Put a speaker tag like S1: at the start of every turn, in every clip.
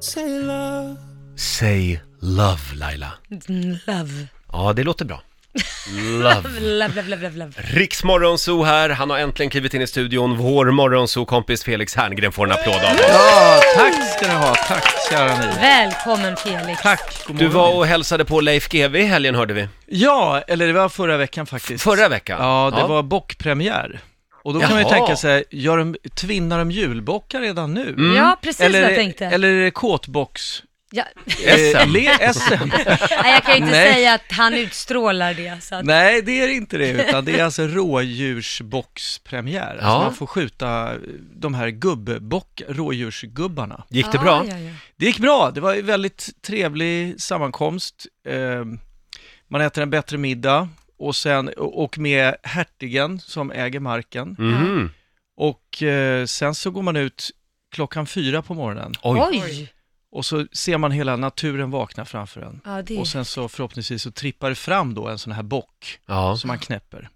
S1: Say love.
S2: Säg love, Laila.
S3: Love.
S2: Ja, det låter bra. Love.
S3: Love, love, love, love, love.
S2: Riksmorgonzoo här, han har äntligen klivit in i studion. Vår morgonzoo-kompis Felix Herngren får en applåd av oss.
S1: Ja, tack ska du ha. Tack kära ni.
S3: Välkommen Felix.
S1: Tack. God
S2: Du
S1: morgon.
S2: var och hälsade på Leif GW i helgen hörde vi.
S1: Ja, eller det var förra veckan faktiskt.
S2: Förra veckan.
S1: Ja, det var bockpremiär. Och då kan man ju
S2: Jaha.
S1: tänka sig, gör de, tvinnar de julbockar redan nu?
S3: Mm. Ja, precis
S1: eller,
S3: vad jag tänkte.
S1: Eller är det kåtbocks?
S3: Ja.
S1: eh,
S2: SM.
S1: le- SM?
S3: Nej, jag kan ju inte
S1: Nej.
S3: säga att han utstrålar det. Så att,
S1: Nej, det är inte det, utan det är alltså rådjursboxpremiär.
S2: Ja.
S1: Alltså man får skjuta de här gubbbock, rådjursgubbarna.
S2: Gick det bra?
S3: Ja, ja, ja.
S1: Det gick bra, det var en väldigt trevlig sammankomst. Eh, Man äter en bättre middag och, sen, och med hertigen som äger marken.
S2: Mhm.
S1: Och eh, sen så går man ut klockan fyra på morgonen
S2: Oj.
S3: Oj.
S1: och så ser man hela naturen vakna framför en.
S3: Ja, det
S1: Och sen så förhoppningsvis så trippar det fram då en sån här bock
S2: Ja.
S1: som man knäpper.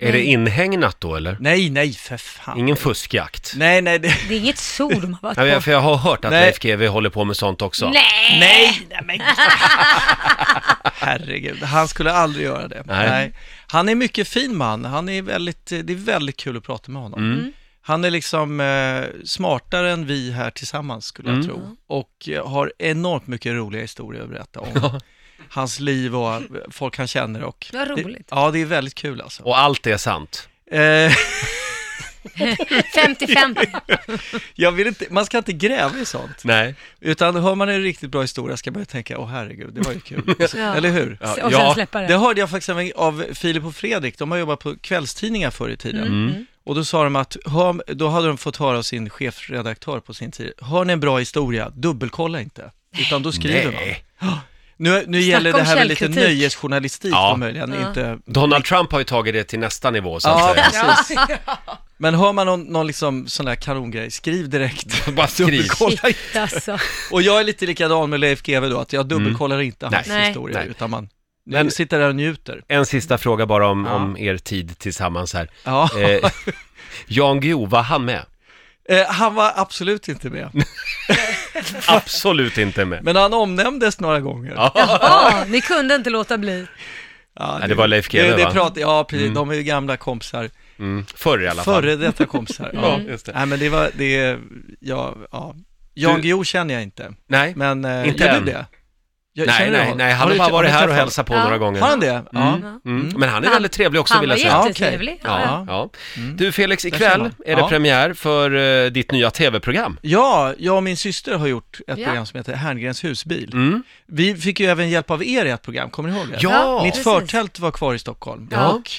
S2: Är det inhägnat då eller?
S1: Nej, nej, för fan.
S2: Ingen fuskjakt?
S1: Nej, nej, det...
S3: Det är inget sol de har varit
S2: Ja, men
S3: på.
S2: jag- för jag har hört att
S1: Nej.
S2: Leif GW håller på med sånt också.
S3: Nej!
S1: Nej, nej men... Herregud, han skulle aldrig göra det.
S2: Nej.
S1: Han är mycket fin man, han är väldigt, eh, det är väldigt kul att prata med honom.
S2: Mm.
S1: Han är liksom eh, smartare än vi här tillsammans skulle jag
S2: Mm.
S1: tro. Och eh, har enormt mycket roliga historier att berätta om. Hans liv och eh, folk han känner och...
S3: Vad roligt.
S1: Det, ja, det är väldigt kul alltså.
S2: Och allt är sant.
S1: Eh,
S3: 50-50.
S1: jag vill inte, man ska inte gräva i sånt.
S2: Nej.
S1: Utan hör man en riktigt bra historia ska man ju tänka, åh herregud, det var ju kul.
S3: Ja.
S1: Eller hur?
S2: Ja,
S3: Och sen
S2: ja.
S3: släppa
S1: Det
S3: det.
S1: hörde jag faktiskt av- av Filip och Fredrik, de har jobbat på kvällstidningar förr i tiden.
S3: Mm.
S1: Och då sa de att, hör, då hade de fått höra av sin chefredaktör på sin tid, hör ni en bra historia, dubbelkolla inte, utan då skriver
S2: Nej.
S1: man. Ja. Nu, nu
S3: Snacka
S1: gäller
S3: om
S1: det här med lite
S3: källkritik.
S1: nöjesjournalistik
S2: Ja.
S1: ja. möjligen, inte...
S2: Donald Trump har ju tagit det till nästa nivå så
S1: Ja,
S2: att säga.
S1: precis. Men hör man någon, någon liksom sån där kanongrej, skriv direkt.
S2: Bara skriv.
S1: Dubbelkolla.
S3: Shit alltså.
S1: Och jag är lite likadan med Leif GW då, att jag dubbelkollar inte hans
S3: Nej.
S1: historia,
S2: Mm. Nej.
S1: utan man
S2: Men-
S1: Men... sitter där och njuter.
S2: En sista fråga bara om,
S1: Ja.
S2: om er tid tillsammans här.
S1: Ja.
S2: Eh, Jan Guillou, var han med?
S1: Eh, han var absolut inte med.
S2: Absolut inte med.
S1: Men han omnämndes några gånger.
S2: Ja.
S3: Ja, ni kunde inte låta bli.
S1: Ja,
S2: det var Leif GW,
S1: det,
S2: va?
S1: det pratar, Ja, precis. De är ju gamla kompisar.
S2: Mm. Förr i alla fall.
S1: Före detta kompisar. ja.
S2: Ja, just det.
S1: Mm. Nej, men det var, det, ja, ja. Jan
S2: Du-
S1: Guillou känner jag inte,
S2: Nej,
S1: men eh,
S2: Inte
S1: gör
S2: än.
S1: du det? Jag,
S2: nej,
S1: känner du
S2: nej,
S1: honom?
S2: nej. Han
S1: Har
S2: har
S1: du-
S2: bara varit
S1: ni
S2: här och
S1: träffat-
S2: hälsat på
S3: Ja.
S2: några gånger.
S1: Har han det? Ja.
S2: Mm. Mm. Men han är väldigt trevlig också
S3: Han
S2: vill
S3: var
S2: jag säga.
S1: jätte-
S3: jättetrevlig.
S2: Ja, ja.
S1: Ja.
S2: Du Felix,
S1: ser
S2: ikväll
S1: man.
S2: är det
S1: Ja.
S2: premiär för eh, ditt nya tv-program.
S1: Ja, jag och min syster har gjort ett
S3: Ja.
S1: program som heter Herngrens husbil.
S2: Mm.
S1: Vi fick ju även hjälp av er i ett program, kommer ni ihåg det?
S2: Ja!
S1: Mitt
S3: Precis.
S1: förtält var kvar i Stockholm
S2: Ja.
S1: och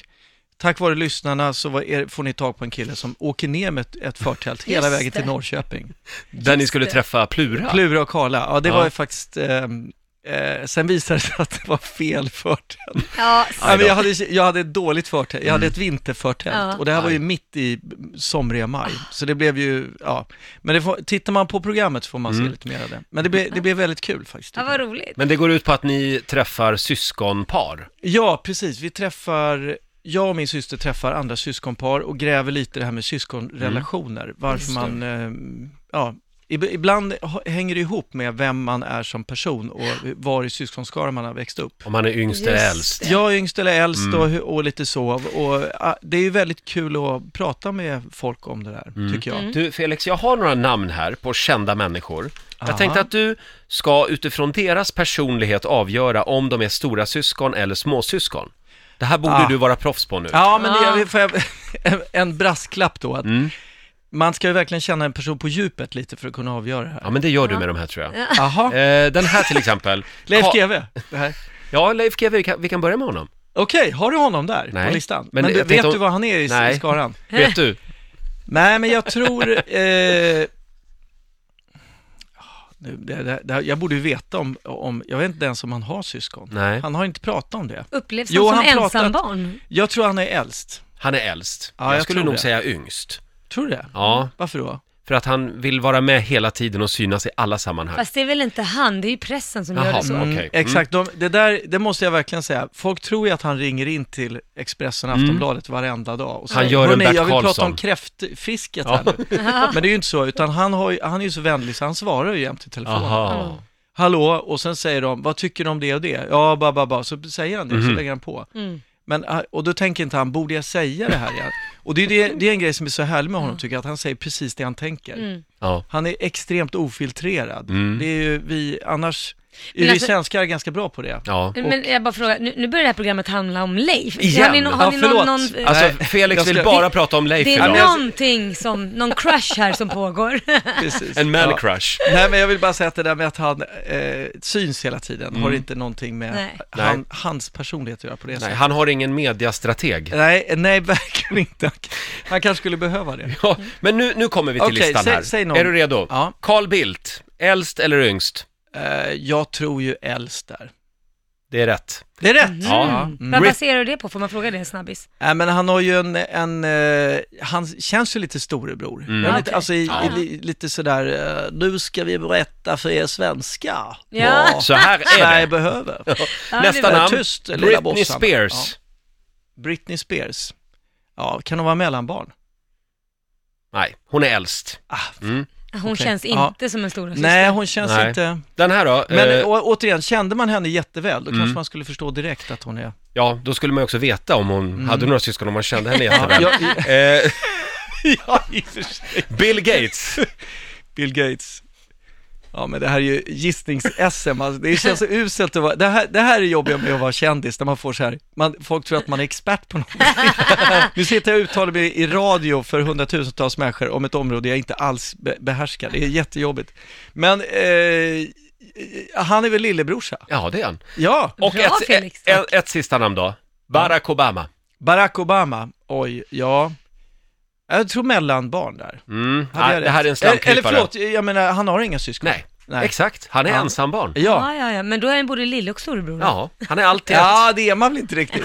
S1: tack vare lyssnarna så var er, får ni tag på en kille som åker ner med ett, ett förtält hela
S3: Just
S1: vägen till
S3: det.
S1: Norrköping.
S2: Där ni skulle
S3: det.
S2: träffa Plura.
S1: Plura och Karla, ja det
S2: Ja.
S1: var ju faktiskt ehm, Eh, sen visade det sig att det var fel förtält.
S3: Ja,
S1: Ja, men jag, hade, jag hade ett dåligt förtält, jag hade ett vinterförtält
S3: Ja.
S1: och det här var ju
S2: Aj.
S1: mitt i somriga maj. Så det blev ju, ja. Men det får, tittar man på programmet så får man se lite mer av det. Men det, blev det blev väldigt kul faktiskt.
S3: ja,
S1: tycker
S3: vad
S1: jag.
S3: roligt.
S2: Men det går ut på att ni träffar syskonpar.
S1: Ja, precis. Vi träffar, jag och min syster träffar andra syskonpar och gräver lite det här med syskonrelationer. Varför
S3: Mm. Just det.
S1: man, eh, ja, ib- ibland h- hänger det ihop med vem man är som person och var i syskonskaran man har växt upp.
S2: Om man är yngst eller
S3: Just
S2: äldst.
S3: det.
S1: Jag är yngst eller äldst och, hu- och lite så. Och, ja, det är ju väldigt kul att prata med folk om det där, tycker
S3: Mm.
S1: jag.
S2: Mm. Du Felix, jag har några namn här på kända människor. Jag
S1: Aha.
S2: tänkte att du ska utifrån deras personlighet avgöra om de är stora syskon eller småsyskon. Det här borde
S1: Ah.
S2: du vara proffs på nu.
S1: Ja, men det,
S3: Ah.
S1: jag, vill- får jag, en- en brasklapp då. Att Man ska ju verkligen känna en person på djupet lite för att kunna avgöra det här.
S2: Ja, men det gör du med de här tror jag.
S1: Jaha,
S2: Eh, den här till exempel.
S1: Leif
S2: Ka-
S1: GW. det här.
S2: Ja, Leif GW, vi, kan- vi kan börja med honom.
S1: Okej, har du honom där
S2: Nej.
S1: på listan?
S2: Men
S1: Men,
S2: jag
S1: du,
S2: tänkte
S1: vet
S2: om-
S1: du vad han är i,
S2: Nej.
S1: i skaran?
S2: Vet du?
S1: Nej, men jag tror... Eh... nu, Det, det, det, jag borde ju veta om, om... Jag vet inte ens om han har syskon.
S2: Nej.
S1: Han har inte pratat om det.
S3: Upplevs
S1: Jo,
S3: han som
S1: han pratar-
S3: ensambarn?
S1: Jag tror han är äldst.
S2: Han är äldst.
S1: Ja,
S2: jag,
S1: jag
S2: skulle
S1: tror
S2: nog
S1: det.
S2: säga yngst.
S1: Tror du det?
S2: Ja,
S1: Varför då?
S2: För att han vill vara med hela tiden och synas i alla sammanhang.
S3: Fast det är väl inte han, det är ju pressen som gör
S2: Jaha,
S3: det så.
S2: mm.
S1: Mm,
S2: Okej.
S1: Exakt, de, det där, det måste jag verkligen säga. Folk tror ju att han ringer in till Expressen och Aftonbladet varenda dag och
S2: Mm. Han
S1: säger,
S2: gör en
S1: "Hörni,
S2: Bert
S1: jag vill prata
S2: Karlsson."
S1: om kräftfisket här nu. Men det är ju inte så, utan han, har, ju- han är ju så vänlig så han svarar ju jämt i telefonen.
S2: Aha.
S1: Hallå, och sen säger de, vad tycker du om det och det? Ja, ba, ba, ba, så säger han det,
S2: Mhm.
S1: så lägger han på.
S3: Mm.
S1: Men, ah, och då tänker inte han, borde jag säga det här igen? Och det är, det, det är en grej som är så härlig med honom tycker jag, att han säger precis det han tänker.
S3: Mm.
S2: Ja.
S1: Han är extremt ofiltrerad.
S2: Mm.
S1: Det är ju vi, annars, är
S3: Men
S1: vi
S3: alltså-
S1: svenskar ganska bra på det.
S2: Ja.
S3: Eh, Men jag bara frågar, nu, nu börjar det här programmet handla om Leif.
S2: Igen?
S3: Har ni, no- har
S1: Ja,
S3: ni någon,
S1: förlåt.
S3: någon, eh,
S2: Alltså,
S1: Nej,
S2: Felix
S1: jag ska-
S2: vill bara
S3: Det-
S2: prata om Leif
S3: det
S2: idag.
S3: är någonting som, någon crush här som pågår.
S1: Precis.
S2: En man
S1: Ja.
S2: crush.
S1: Nej, men jag vill bara säga att det där med att han eh, syns hela tiden har inte någonting med
S3: Nej.
S1: han, hans personlighet att göra på det
S2: Mm. Nej,
S1: sättet.
S2: han har ingen mediastrateg.
S1: Nej, nej, verkligen inte. Han kanske skulle behöva det.
S2: Ja, men nu, nu kommer vi till
S1: Okej,
S2: listan
S1: säg-
S2: här.
S1: säg någon.
S2: är du redo?
S1: Ja.
S2: Carl Bildt, äldst eller yngst?
S1: Eh, jag tror ju äldst där.
S2: Det är rätt.
S1: Det är rätt! Mm.
S2: Ja.
S3: Vad
S2: Ri-
S3: baserar du det på? Får man fråga det en snabbis?
S1: Nej, men han har ju en, en eh, han känns ju lite storebror.
S2: Mm.
S1: Men
S3: Ja,
S1: lite,
S3: okej.
S1: alltså i,
S3: Ja.
S1: i, li- lite sådär, eh, nu ska vi berätta för er svenskar
S3: Ja.
S1: vad
S2: Så här är
S1: Sverige
S2: det.
S1: behöver.
S3: Ja, det
S2: Nästa
S3: var-
S2: namn,
S1: tyst, lilla
S2: Britney
S1: bossarna.
S2: Spears.
S1: Britney Spears. Ja, kan hon vara mellanbarn?
S2: Nej, hon är äldst.
S1: Ah,
S3: Hon
S1: Okej.
S3: känns
S1: Ja.
S3: inte som en storasyster.
S1: nej, hon känns
S2: Mm. Nej.
S1: inte...
S2: Den här då,
S1: Men
S2: eh,
S1: å, återigen, kände man henne jätteväl, då
S2: Mm.
S1: kanske man skulle förstå direkt att hon är...
S2: ja, då skulle man ju också veta om hon hade några syskon, om man kände henne jätteväl.
S1: Mm. Ja, i-
S2: Eh,
S1: ja, i och för sig.
S2: Bill Gates.
S1: Bill Gates. Ja, men det här är ju gissnings-SM, alltså, det känns så uselt att vara... Det här, det här är jobbiga med att vara kändis, när man får så här... Man, folk tror att man är expert på något. nu sitter jag och uttalar mig i radio för hundratusentals människor om ett område jag inte alls be- behärskar. Det är jättejobbigt. Men... Eh, han är väl lillebrorsa?
S2: Ja, det är han.
S1: Ja!
S2: Och
S3: Bra,
S2: ett,
S3: Felix.
S2: ett, ett, ett sista namn då. Barack Obama.
S1: Barack Obama, oj, ja. Jag tror mellanbarn där.
S2: Mm.
S1: Hade
S2: Nej,
S1: jag
S2: det här är en
S1: rätt? eller, eller
S2: slamkrypare.
S1: förlåt, jag menar, han har inga syskon.
S2: Nej,
S1: Nej.
S2: exakt. Han är
S1: Ja.
S2: ensambarn.
S1: Ja.
S3: Ja, ja, ja, men då är han både lille och storebror.
S2: Ja, han är alltid
S1: ja, det är man väl inte riktigt.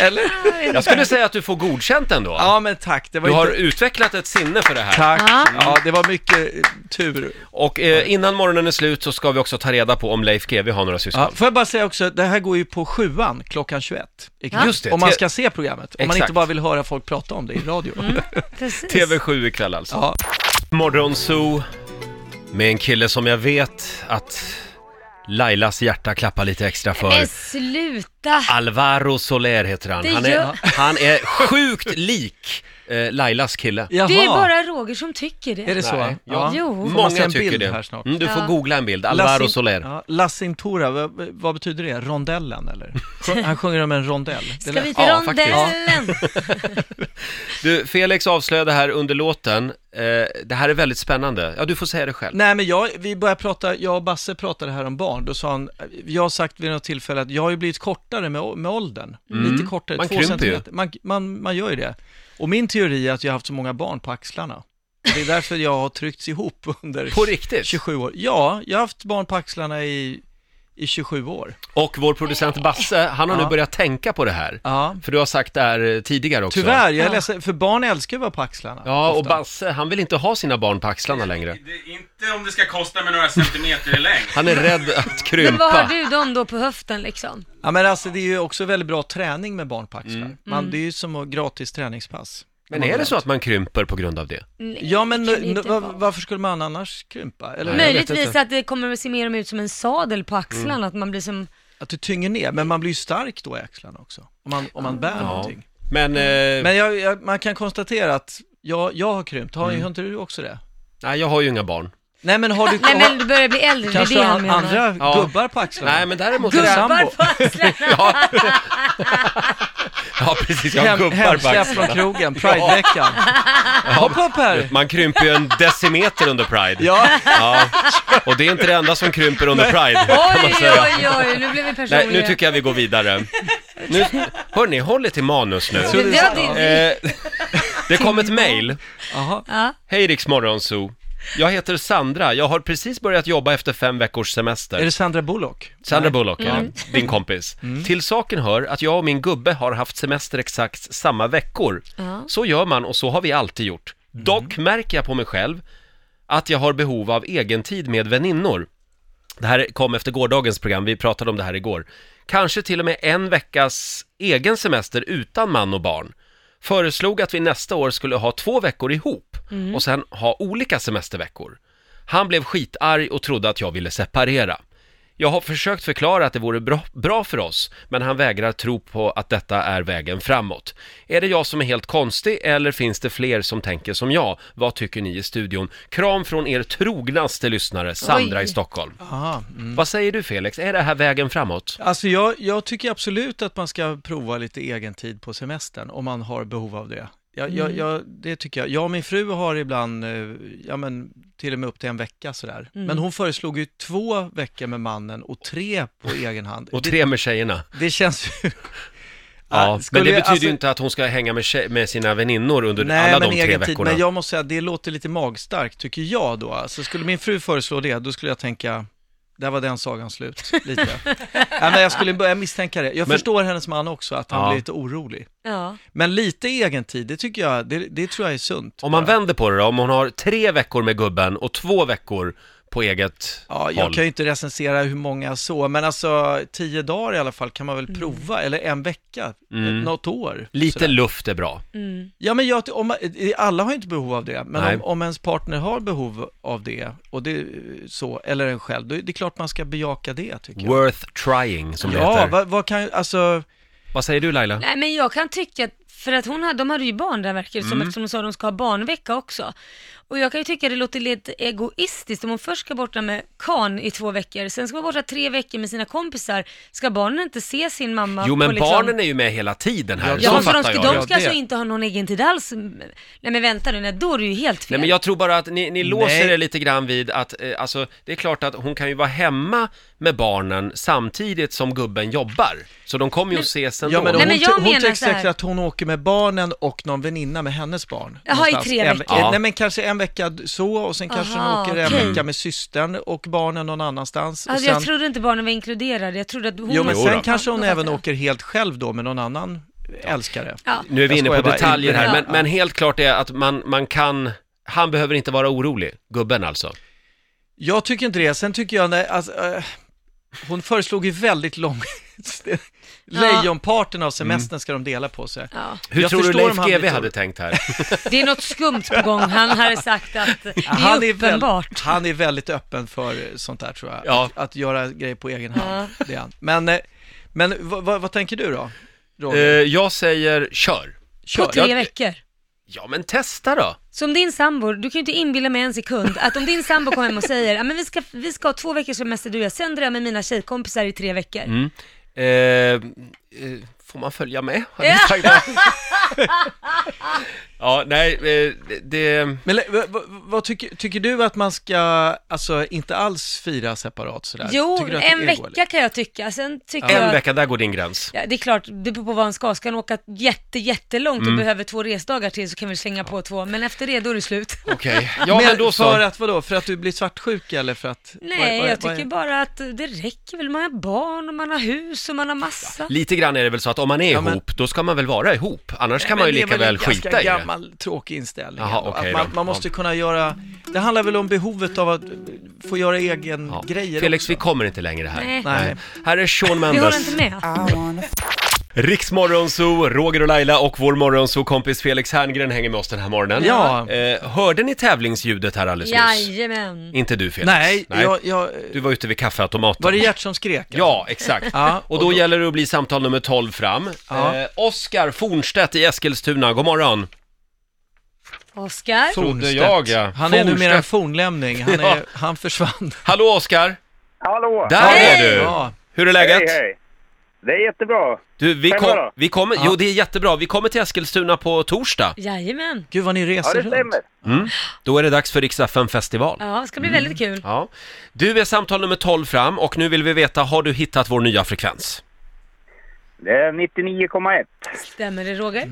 S1: eller?
S2: ett. Jag skulle säga att du får godkänt ändå.
S1: Ja, men tack. Det var
S2: Du har
S1: inte...
S2: utvecklat ett sinne för det här.
S1: Tack.
S3: Ja.
S1: Ja, det var mycket eh, tur.
S2: Och eh, innan morgonen är slut så ska vi också ta reda på om Leif GW har några syskon.
S1: Ja, får jag bara säga också, det här går ju på sjuan klockan 21. ikväll.
S2: Just det.
S1: Om man
S2: Te-
S1: ska se programmet. Om man
S2: Exakt.
S1: inte bara vill höra folk prata om det i radio.
S3: Mm. Precis.
S2: TV7 ikväll alltså.
S1: Ja.
S2: Morgonzoo med en kille som jag vet att Lailas hjärta klappar lite extra för.
S3: Men Eh, sluta!
S2: Alvaro Soler heter han.
S3: Det
S2: Han är,
S3: gör-
S2: han är sjukt lik eh, Lailas kille.
S1: Jaha.
S3: Det är bara Roger som tycker det.
S1: Är det så?
S2: Nej,
S1: Ja.
S3: Jo.
S1: Får man
S2: Många
S1: se en
S2: tycker
S1: bild
S2: det.
S1: här snart?
S2: Mm, du får
S3: Ja.
S2: googla en bild. Alvaro
S1: Lassin-
S2: Soler.
S1: Ja, Lassintora, vad, vad betyder det? Rondellen eller? Sjö- Han sjunger om en rondell. Det
S3: Ska
S1: lät-
S3: vi till
S2: Ja,
S3: rondellen?
S2: Du, Felix avslöjade här under låten, eh, det här är väldigt spännande. Ja, du får säga det själv.
S1: Nej men jag, vi började prata, jag och Basse pratade här om barn, då sa han, jag har sagt vid något tillfälle att jag har ju blivit kortare med, å- med åldern, lite kortare,
S2: Mm. Man
S1: två
S2: krymper ju.
S1: centimeter. Man, man, man gör ju det. Och min teori är att jag har haft så många barn på axlarna. Det är därför jag har tryckts ihop under
S2: På riktigt?
S1: 27 år. Ja, jag har haft barn på axlarna i, i 27 år.
S2: Och vår producent Basse, han har nu
S1: Ja.
S2: börjat tänka på det här.
S1: Ja.
S2: För du har sagt det här eh, tidigare också.
S1: Tyvärr, jag är
S3: Ja.
S1: ledsen, för barn älskar ju att vara på axlarna.
S2: Ja, och
S1: ofta.
S2: Basse, han vill inte ha sina barn på axlarna längre.
S4: Det är inte om det ska kosta mig några centimeter i längd.
S2: Han är rädd att
S3: Men vad har
S2: krympa.
S3: du dem då på höften liksom?
S1: Ja men alltså det är ju också väldigt bra träning med barn på axlar.
S2: Mm.
S1: Man, det är ju som att gratis träningspass.
S2: Men är det så att man krymper på grund av det?
S3: Nej,
S1: Ja men
S3: det kan
S1: nu,
S3: inte
S1: va-
S3: vara.
S1: varför skulle man annars krympa? Eller
S2: Nej. jag vet
S3: Möjligtvis
S2: inte.
S3: att det kommer att se mer och mer ut som en sadel på axlarna, att man blir som...
S1: att du tynger ner, men man blir ju stark då i axlarna också. Om man, om man bär någonting.
S2: Men, eh,
S1: Men jag, jag, man kan konstatera att jag, jag har krympt, har,
S2: Mm.
S1: har inte du också det?
S2: nej, jag har ju inga barn.
S1: Nej men har du,
S3: Nej men
S1: har,
S3: du börjar bli äldre, det är
S1: kanske
S3: det
S1: an-
S3: han menar.
S1: andra
S2: Ja.
S1: gubbar på axlarna?
S2: Nej, men däremot...
S1: Gubb-
S3: Gubbar
S1: sambo.
S3: på axlarna!
S2: Ja. ja, precis. Jag har
S1: Hem,
S2: gubbar på
S1: hemsläpp från
S2: axlarna.
S1: krogen, prideveckan. Hopp upp här!
S2: Man krymper ju en decimeter under Pride.
S1: Ja,
S2: Ja. Och det är inte det enda som krymper under Pride, kan man
S3: Oj,
S2: säga.
S3: oj, oj, nu blev vi personliga.
S2: Nej, nu tycker jag vi går vidare. Nu, hörni, håll er till manus nu.
S1: trodde
S3: det, ja, det, det,
S2: Eh, det kom ett mejl.
S1: Jaha.
S3: ja.
S2: Hej Rix Morgonzoo. Jag heter Sandra. Jag har precis börjat jobba efter fem veckors
S1: är
S2: semester.
S1: det Mm. Sandra Bullock?
S2: Sandra Bullock, är det, din kompis.
S1: Mm.
S2: Till saken hör att jag och min gubbe har haft semester exakt samma veckor. Så gör man och så har vi alltid gjort.
S1: Mm.
S2: Dock märker jag på mig själv att jag har behov av egentid med väninnor. Det här kom efter gårdagens program, vi pratade om det här igår. Kanske till och med en veckas egen semester utan man och barn. Föreslog att vi nästa år skulle ha två veckor ihop och sen ha olika semesterveckor. Han blev skitarg och trodde att jag ville separera. Jag har försökt förklara att det vore bra, bra för oss, men han vägrar tro på att detta är vägen framåt. Är det jag som är helt konstig eller finns det fler som tänker som jag? Vad tycker ni i studion? Kram från er trognaste lyssnare, Sandra
S3: Oj.
S2: i Stockholm.
S1: Aha, Mm.
S2: Vad säger du Felix, är det här vägen framåt?
S1: Alltså jag, jag tycker absolut att man ska prova lite egen tid på semestern om man har behov av det. Jag,
S2: Mm.
S1: jag, jag, det tycker jag. Jag och min fru har ibland, eh, ja men till och med upp till en vecka sådär.
S2: Mm.
S1: Men hon föreslog ju två veckor med mannen och tre på egen hand.
S2: Och tre med tjejerna.
S1: Det, det känns ju...
S2: Ja,
S1: skulle
S2: men det
S1: jag-
S2: betyder
S1: alltså-
S2: ju inte att hon ska hänga med, tjej, med sina väninnor under
S1: Nej,
S2: alla
S1: men
S2: de tre
S1: egen tid.
S2: veckorna.
S1: Men jag måste säga, det låter lite magstarkt tycker jag då. Alltså, skulle min fru föreslå det, då skulle jag tänka, där var den sagan slut, lite. Nej, men jag skulle börja misstänka det. Jag
S2: Men-
S1: förstår hennes man också, att han
S2: Ja.
S1: blir lite orolig.
S3: Ja.
S1: Men lite egen tid, det tycker jag, det, det tror jag är sunt.
S2: Om man vänder på det då, om hon har tre veckor med gubben och två veckor på eget
S1: Ja, jag
S2: håll.
S1: kan ju inte recensera hur många så, men alltså tio dagar i alla fall kan man väl prova, eller en vecka,
S2: Mm.
S1: eh, något år.
S2: Lite
S1: sådär.
S2: luft är bra.
S1: Ja, men jag, om, man- alla har ju inte behov av det, men
S2: Nej.
S1: om, om ens partner har behov av det, och det, eh, så, eller en själv, då är det klart man ska bejaka det tycker jag.
S2: Worth trying, som det
S1: Ja,
S2: heter.
S1: vad, vad kan, alltså,
S2: Vad säger du Laila?
S3: Nej men jag kan tycka att, för att hon hade, de hade ju barn där verkar det
S2: Mm.
S3: som eftersom hon sa att de ska ha barnvecka också. Och jag kan ju tycka det låter lite egoistiskt om hon först ska borta med kan i två veckor, sen ska vara borta tre veckor med sina kompisar. Ska barnen inte se sin mamma
S2: Jo,
S3: på
S2: men
S3: liksom...
S2: barnen är ju med hela tiden här,
S1: Ja,
S2: så
S3: Ja, men för de
S2: fattar
S3: ska,
S2: jag.
S3: de
S1: Ja,
S3: ska
S1: det.
S3: alltså inte ha någon egen tid alls. Nej men vänta nu, nej, då är det ju helt fel.
S2: Nej men jag tror bara att ni, ni låser
S1: Nej.
S2: er lite grann vid att, eh, alltså det är klart att hon kan ju vara hemma med barnen samtidigt som gubben jobbar. Så de kommer ju att ses ändå.
S1: ja, men
S3: Nej,
S1: hon,
S3: men jag
S1: ty- hon
S3: menar
S1: tycker
S3: så här.
S1: säkert att hon åker med barnen och någon väninna med hennes barn.
S3: Jaha, i
S1: någonstans.
S3: tre
S1: En-
S3: veckor.
S2: Ja.
S1: Nej, men kanske en vecka så, och sen kanske
S3: Aha,
S1: hon åker en
S3: okej.
S1: vecka med systern och barnen någon annanstans.
S3: alltså,
S1: och
S3: jag trodde inte barnen var inkluderade, jag trodde att hon...
S1: Jo, men
S2: Jo
S1: sen
S2: då.
S1: kanske hon
S3: Ja, då
S1: även
S3: fattar jag.
S1: åker helt själv då med någon annan älskare.
S3: Ja.
S2: Nu är vi
S1: Jag
S2: inne på
S1: skojar bara.
S2: detaljer här,
S3: Ja.
S2: men, men helt klart är att man, man kan, han behöver inte vara orolig, gubben alltså.
S1: Jag tycker inte det. Sen tycker jag, nej, alltså, eh, hon föreslog ju väldigt lång... Lejonparten av semestern ska de dela på sig.
S3: Ja.
S2: Hur
S1: Jag
S2: tror du
S1: förstår
S2: Leif
S1: om han
S2: GW
S1: blir
S2: hade
S1: orolig.
S2: tänkt här?
S3: Det är något skumt på gång, han hade sagt att det är
S1: Han är, väl,
S3: uppenbart.
S1: han är väldigt öppen för eh, sånt där tror jag.
S2: Ja.
S1: Att, att göra grejer på egen hand. Det är han. Men, eh, men vad, vad, vad tänker du då?
S2: Eh,
S1: Roger?
S2: jag säger, kör!
S1: Kör.
S3: På tre
S2: Jag-
S3: veckor.
S2: Ja men testa då!
S3: Som din sambo, du kan ju inte inbilla mig en sekund att om din sambo kommer hem och säger "Ja, men vi, ska, vi ska ha två veckors semester du och jag, sen drar jag med mina tjejkompisar i tre veckor.
S1: Mm.
S2: Eh, eh, får man följa med? hade jag sagt. ja, nej, eh, det- det...
S1: Men le- vad- vad- vad tycker, tycker du att man ska, alltså inte alls fira separat sådär?
S3: Jo,
S1: Tycker du att det
S3: en
S1: är
S3: vecka
S1: dåligt?
S3: kan jag tycka. Sen tycker jag...
S2: En vecka, där går din gräns.
S3: Ja, det är klart, det beror på vad han ska. Ska han åka jätte, jättelångt
S1: Mm.
S3: och behöver två resdagar till så kan vi slänga på två, men efter det då är det slut.
S2: Okej, ja men, då så.
S1: För att vadå? För att du blir svartsjuk eller för att?
S3: Nej,
S1: vad- vad-
S3: jag
S1: vad är-
S3: tycker bara att det räcker väl. Man har barn och man har hus och man har massa.
S2: Lite grann är det väl så att om man är
S1: Ja, men-
S2: ihop, då ska man väl vara ihop? Annars kan man ju
S1: Men det är
S2: lika väl
S1: en ganska
S2: skita i det.
S1: gammal tråkig inställning.
S2: Jaha,
S1: ändå.
S2: okej
S1: att
S2: då.
S1: man, man måste kunna göra, det handlar väl om behovet av att eh, få göra egen
S2: Ja.
S1: grejer
S2: Felix,
S1: också.
S2: vi kommer inte längre här.
S3: Nej.
S1: Nej.
S2: Här är Sean
S3: Vi
S2: Mendes.
S3: håller inte med.
S2: Riksmorgonzoo, Roger och Laila och vår morgonzoo-kompis Felix Herngren hänger med oss den här morgonen.
S1: Ja.
S2: Eh, hörde ni tävlingsljudet här alldeles nyss?
S3: Jajamän.
S2: Inte du Felix?
S1: Nej, Jag, jag,
S2: Du var ute vid kaffeautomaten.
S1: var det Gert som skrek?
S2: Ja, exakt.
S1: Ja,
S2: Och då gäller det att bli samtal nummer 12 fram.
S1: Ja.
S2: Eh, Oskar Fornstedt i Eskilstuna, god morgon.
S3: Oskar?
S2: Trodde
S1: Fornstedt.
S2: jag, ja.
S1: Han är numera en
S2: Fornstedt.
S1: fornlämning, han,
S2: Ja.
S1: är, han försvann.
S2: Hallå Oskar!
S5: Hallå!
S2: Där är du!
S1: Ja.
S2: Hur är läget?
S5: Hej, hej! Det är jättebra.
S2: Du, vi,
S5: Fem
S2: kom,
S5: då?
S2: vi kommer,
S1: Ja.
S2: jo det är jättebra, vi kommer till Eskilstuna på torsdag.
S3: Jajamän.
S1: Gud vad ni
S5: Ja,
S1: reser
S5: det stämmer.
S1: runt.
S2: Då är det dags för Rix FM festival.
S3: Ja, det ska bli
S1: Mm.
S3: väldigt kul.
S2: Ja. Du är samtal nummer 12 fram och nu vill vi veta, har du hittat vår nya frekvens?
S5: Det är 99,1.
S1: Mm.
S3: Stämmer det Roger?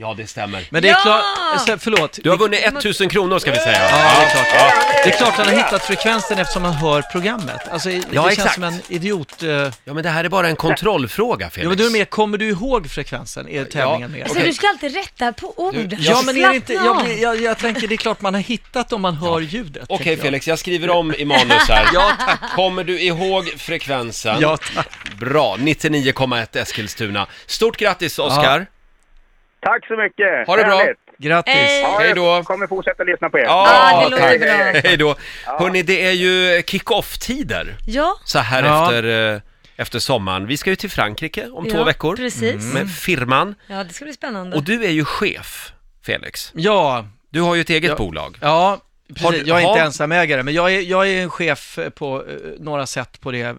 S2: Ja, det stämmer.
S1: Men det är
S3: Ja!
S1: klart, förlåt.
S2: Du har vunnit 1000 kronor ska vi säga.
S1: Ja, det är klart. Det är klart han har hittat frekvensen eftersom han hör programmet. Alltså, det
S2: Ja,
S1: känns
S2: exakt.
S1: som en idiot... Eh,
S2: Ja, men det här är bara en kontrollfråga, Felix.
S1: ja, men du är med, kommer du ihåg frekvensen? Är tävlingen med?
S3: Alltså
S1: Okej.
S3: du ska alltid rätta på ord.
S1: Ja, men är det inte,
S3: Slappna
S1: jag,
S3: av.
S1: blir- jag, jag tänker det är klart man har hittat om man hör ljudet.
S2: Okej
S1: tänker jag.
S2: Felix, jag skriver om i manus här. ja, tack. Kommer du ihåg frekvensen?
S1: Ja, tack.
S2: Bra, 99,1 Eskilstuna. Stort grattis Oskar!
S5: Tack så mycket!
S2: Ha det bra.
S5: Härligt.
S1: Grattis.
S3: Hej.
S5: Ja,
S2: Hej då.
S5: Jag kommer fortsätta lyssna på er.
S3: Ja, Ah, det låter
S2: tack.
S3: bra.
S2: Hej då! Hörni, det är ju kick-off-tider
S3: Ja.
S2: så här
S1: Ja.
S2: efter, eh, efter sommaren. Vi ska ju till Frankrike om två
S3: ja,
S2: veckor
S3: Precis.
S1: Mm.
S3: Mm.
S2: med firman.
S3: Ja, det ska bli spännande.
S2: Och du är ju chef, Felix.
S1: Ja,
S2: Du har ju ett eget bolag.
S1: ja.
S2: Har
S1: Precis.
S2: du-
S1: Jag är inte
S2: har-
S1: ensamägare, men jag är, jag är en chef på eh, några sätt på det, eh,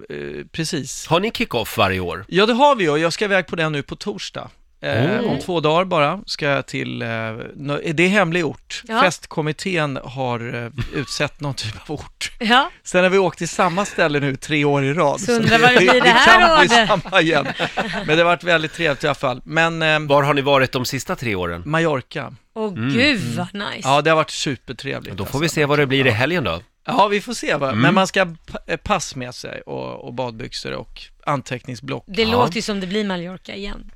S1: precis.
S2: Har ni kick-off varje år?
S1: Ja, det har vi ju. Jag ska iväg på den nu på torsdag. Eh,
S3: Oh.
S1: Om två dagar bara ska jag till, eh, nå- det är hemlig ort.
S3: Ja.
S1: Festkommittén har eh, utsett någon typ av ort.
S3: Ja.
S1: Sen har vi åkt till samma ställe nu tre år i rad.
S3: Så undrar vad det blir det här
S1: kan bli
S3: året.
S1: samma igen. Men det har varit väldigt trevligt i alla fall. Men eh,
S2: Var har ni varit de sista tre åren?
S1: Mallorca,
S3: Åh gud vad nice.
S1: Mm. ja det har varit supertrevligt.
S2: Då får vi
S1: alltså.
S2: se vad det blir i helgen då.
S1: Ja, vi får se. Va? Men man ska ha pa- eh, pass med sig och, och badbyxor och anteckningsblock.
S3: Det låter ju som det blir Mallorca igen.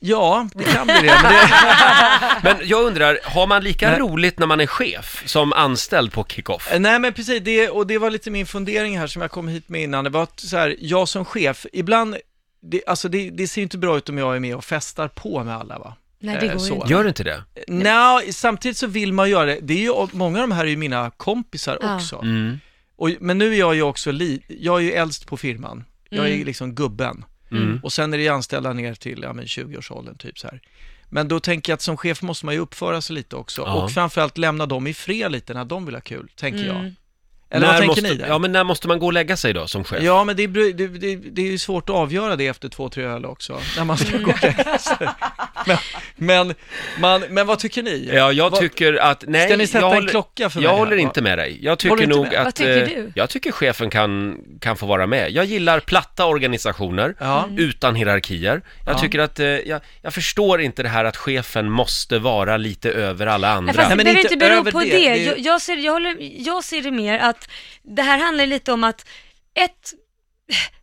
S1: Ja, det kan bli det. Men det...
S2: Men jag undrar, har man lika
S1: Nej.
S2: roligt när man är chef som anställd på kickoff?
S1: Eh, Nej men precis, det, och det var lite min fundering här som jag kom hit med innan. Det var att så här, jag som chef, ibland, det, alltså det, det ser ju inte bra ut om jag är med och festar på med alla va?
S3: Nej, det
S1: Eh,
S3: går ju
S1: så.
S3: inte.
S2: Gör du inte det?
S1: Nja, samtidigt så vill man göra det. det är ju, många av de här är ju mina kompisar
S3: Ja.
S1: också.
S2: Mm.
S1: Och, men nu är jag ju också, li, jag är ju äldst på firman. Jag är ju liksom gubben.
S2: Mm.
S1: Och sen är det ju anställda ner till ja, men 20-årsåldern typ så här. Men då tänker jag att som chef måste man ju uppföra sig lite också.
S2: Ja.
S1: Och framförallt lämna dem i fred lite när de vill ha kul, tänker jag. Eller
S2: när
S1: vad tänker
S2: måste,
S1: ni där?
S2: Ja, men när måste man gå och lägga sig då som chef?
S1: Ja, men det, beror- det, det, det är ju svårt att avgöra det efter två, tre öl också, när man ska gå och lägga sig. Men, men, man, men vad tycker ni?
S2: Ja, jag
S1: Vad-
S2: tycker att, nej,
S1: Ska ni sätta
S2: jag
S1: en
S2: håller-
S1: klocka för mig
S2: Jag
S1: här?
S2: håller
S1: Va?
S2: inte med dig. Jag tycker
S1: Håller du inte
S2: nog
S1: med?
S2: att...
S3: Vad tycker
S2: eh,
S3: du?
S2: Jag tycker chefen kan, kan få vara med. Jag gillar platta organisationer,
S1: Ja.
S3: Mm.
S2: utan hierarkier. Jag
S1: Ja.
S2: tycker att, eh, jag, jag förstår inte det här att chefen måste vara lite över alla andra.
S3: Nej, fast
S1: Nej,
S3: det
S1: men
S3: behöver
S1: inte
S3: inte bero
S1: över
S3: på
S1: det.
S3: det.
S1: Det är ju-
S3: Jag, jag, ser, jag, håller, jag ser det mer att det här handlar lite om att ett,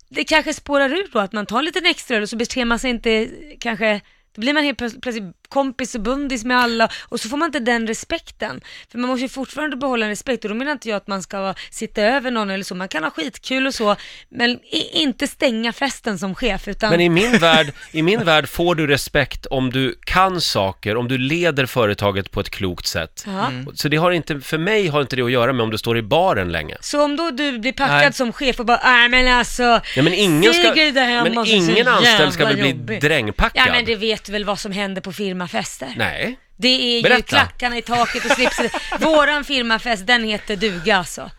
S3: det kanske spårar ur då att man tar lite extra öl och så beter man sig inte kanske då blir man helt plöts- plötsligt kompis och bundis med alla och så får man inte den respekten. För man måste ju fortfarande behålla en respekt och då menar inte jag att man ska vara- sitta över någon eller så. Man kan ha skitkul och så, men i, inte stänga festen som chef utan...
S2: Men i min, värld, i min värld får du respekt om du kan saker, om du leder företaget på ett klokt sätt.
S1: Mm.
S3: ja.
S2: Så det har inte, för mig har inte det att göra med om du står i baren länge.
S3: Så om då du blir packad
S1: Nej.
S3: som chef och bara, nej men alltså,
S2: Nej, men ingen, ska,
S3: Sigrid där hemma
S2: men
S3: och så är det så
S2: ingen anställd ska väl
S3: jävla
S2: bli
S3: jobbig.
S2: drängpackad?
S3: Ja men det vet väl vad som händer på firmafester?
S2: Nej.
S3: Det är ju
S2: Berätta.
S3: klackarna i taket och slipsen. Våran firmafest, den heter duga alltså.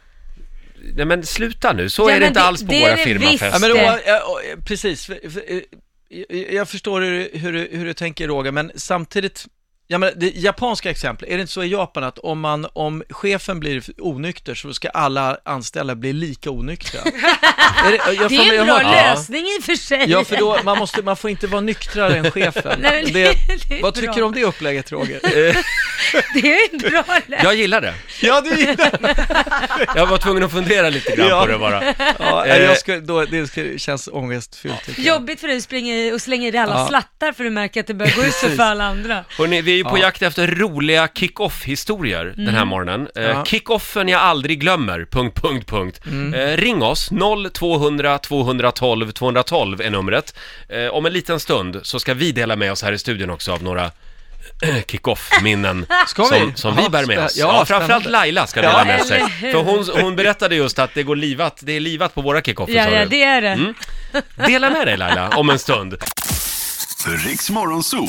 S2: Nej, men sluta nu. Så
S3: Ja,
S2: är det
S3: men
S2: inte
S3: det-
S2: alls på
S3: det
S2: våra
S3: är det visst.
S1: Ja,
S2: firmafester.
S1: men,
S3: det.
S1: Roa, ja, ja, precis. För- för, eh, Jag jag förstår hur, du- hur, du- hur du tänker Roger, men samtidigt, ja, men det japanska exempel, är det inte så i Japan att om, man, om chefen blir onykter så ska alla anställda bli lika onyktra? är det, jag får
S3: Det är
S1: mig-
S3: ju
S1: jag
S3: en bra
S1: har-
S3: lösning i och för sig.
S1: Ja, för då, man, måste, man får inte vara nyktrare än chefen.
S3: Nej, men det-
S1: det,
S3: det är
S1: vad
S3: bra.
S1: tycker du om det upplägget, Roger?
S3: Det är en bra lösning.
S2: Jag gillar det.
S1: ja, du gillar
S2: Jag var tvungen att fundera lite grann
S1: Ja.
S2: på det bara.
S1: ja, jag skulle, då, Det skulle, känns ångestfyllt, tycker jag.
S3: Jobbigt för dig att springa i och slänga i dig alla
S1: Ja.
S3: slattar för du märker att det börjar gå ut för alla andra.
S2: Hörrni, vi är ju på jakt efter roliga kick-off-historier den här morgonen. Eh,
S1: Mm. Ja. Mm.
S2: Kick-offen jag aldrig glömmer, punkt, punkt, punkt. Eh, ring oss, 0200 212 212 är numret. Eh, om en liten stund så ska vi dela med oss här i studion också av några kick-off-minnen
S1: Ska vi?
S2: som, som vi
S1: Ja,
S2: bär med oss.
S1: spä-
S2: Ja,
S1: ja,
S2: framförallt
S1: spännande.
S2: Laila ska
S1: Ja,
S2: dela med sig.
S3: eller
S2: För hon, hon berättade just att det går livat, det är livat på våra kick-offer,
S3: Ja,
S2: sa
S3: ja,
S2: du. Mm.
S3: det är det.
S2: Dela med dig Laila, om en stund.
S6: Riks Morgonzoo.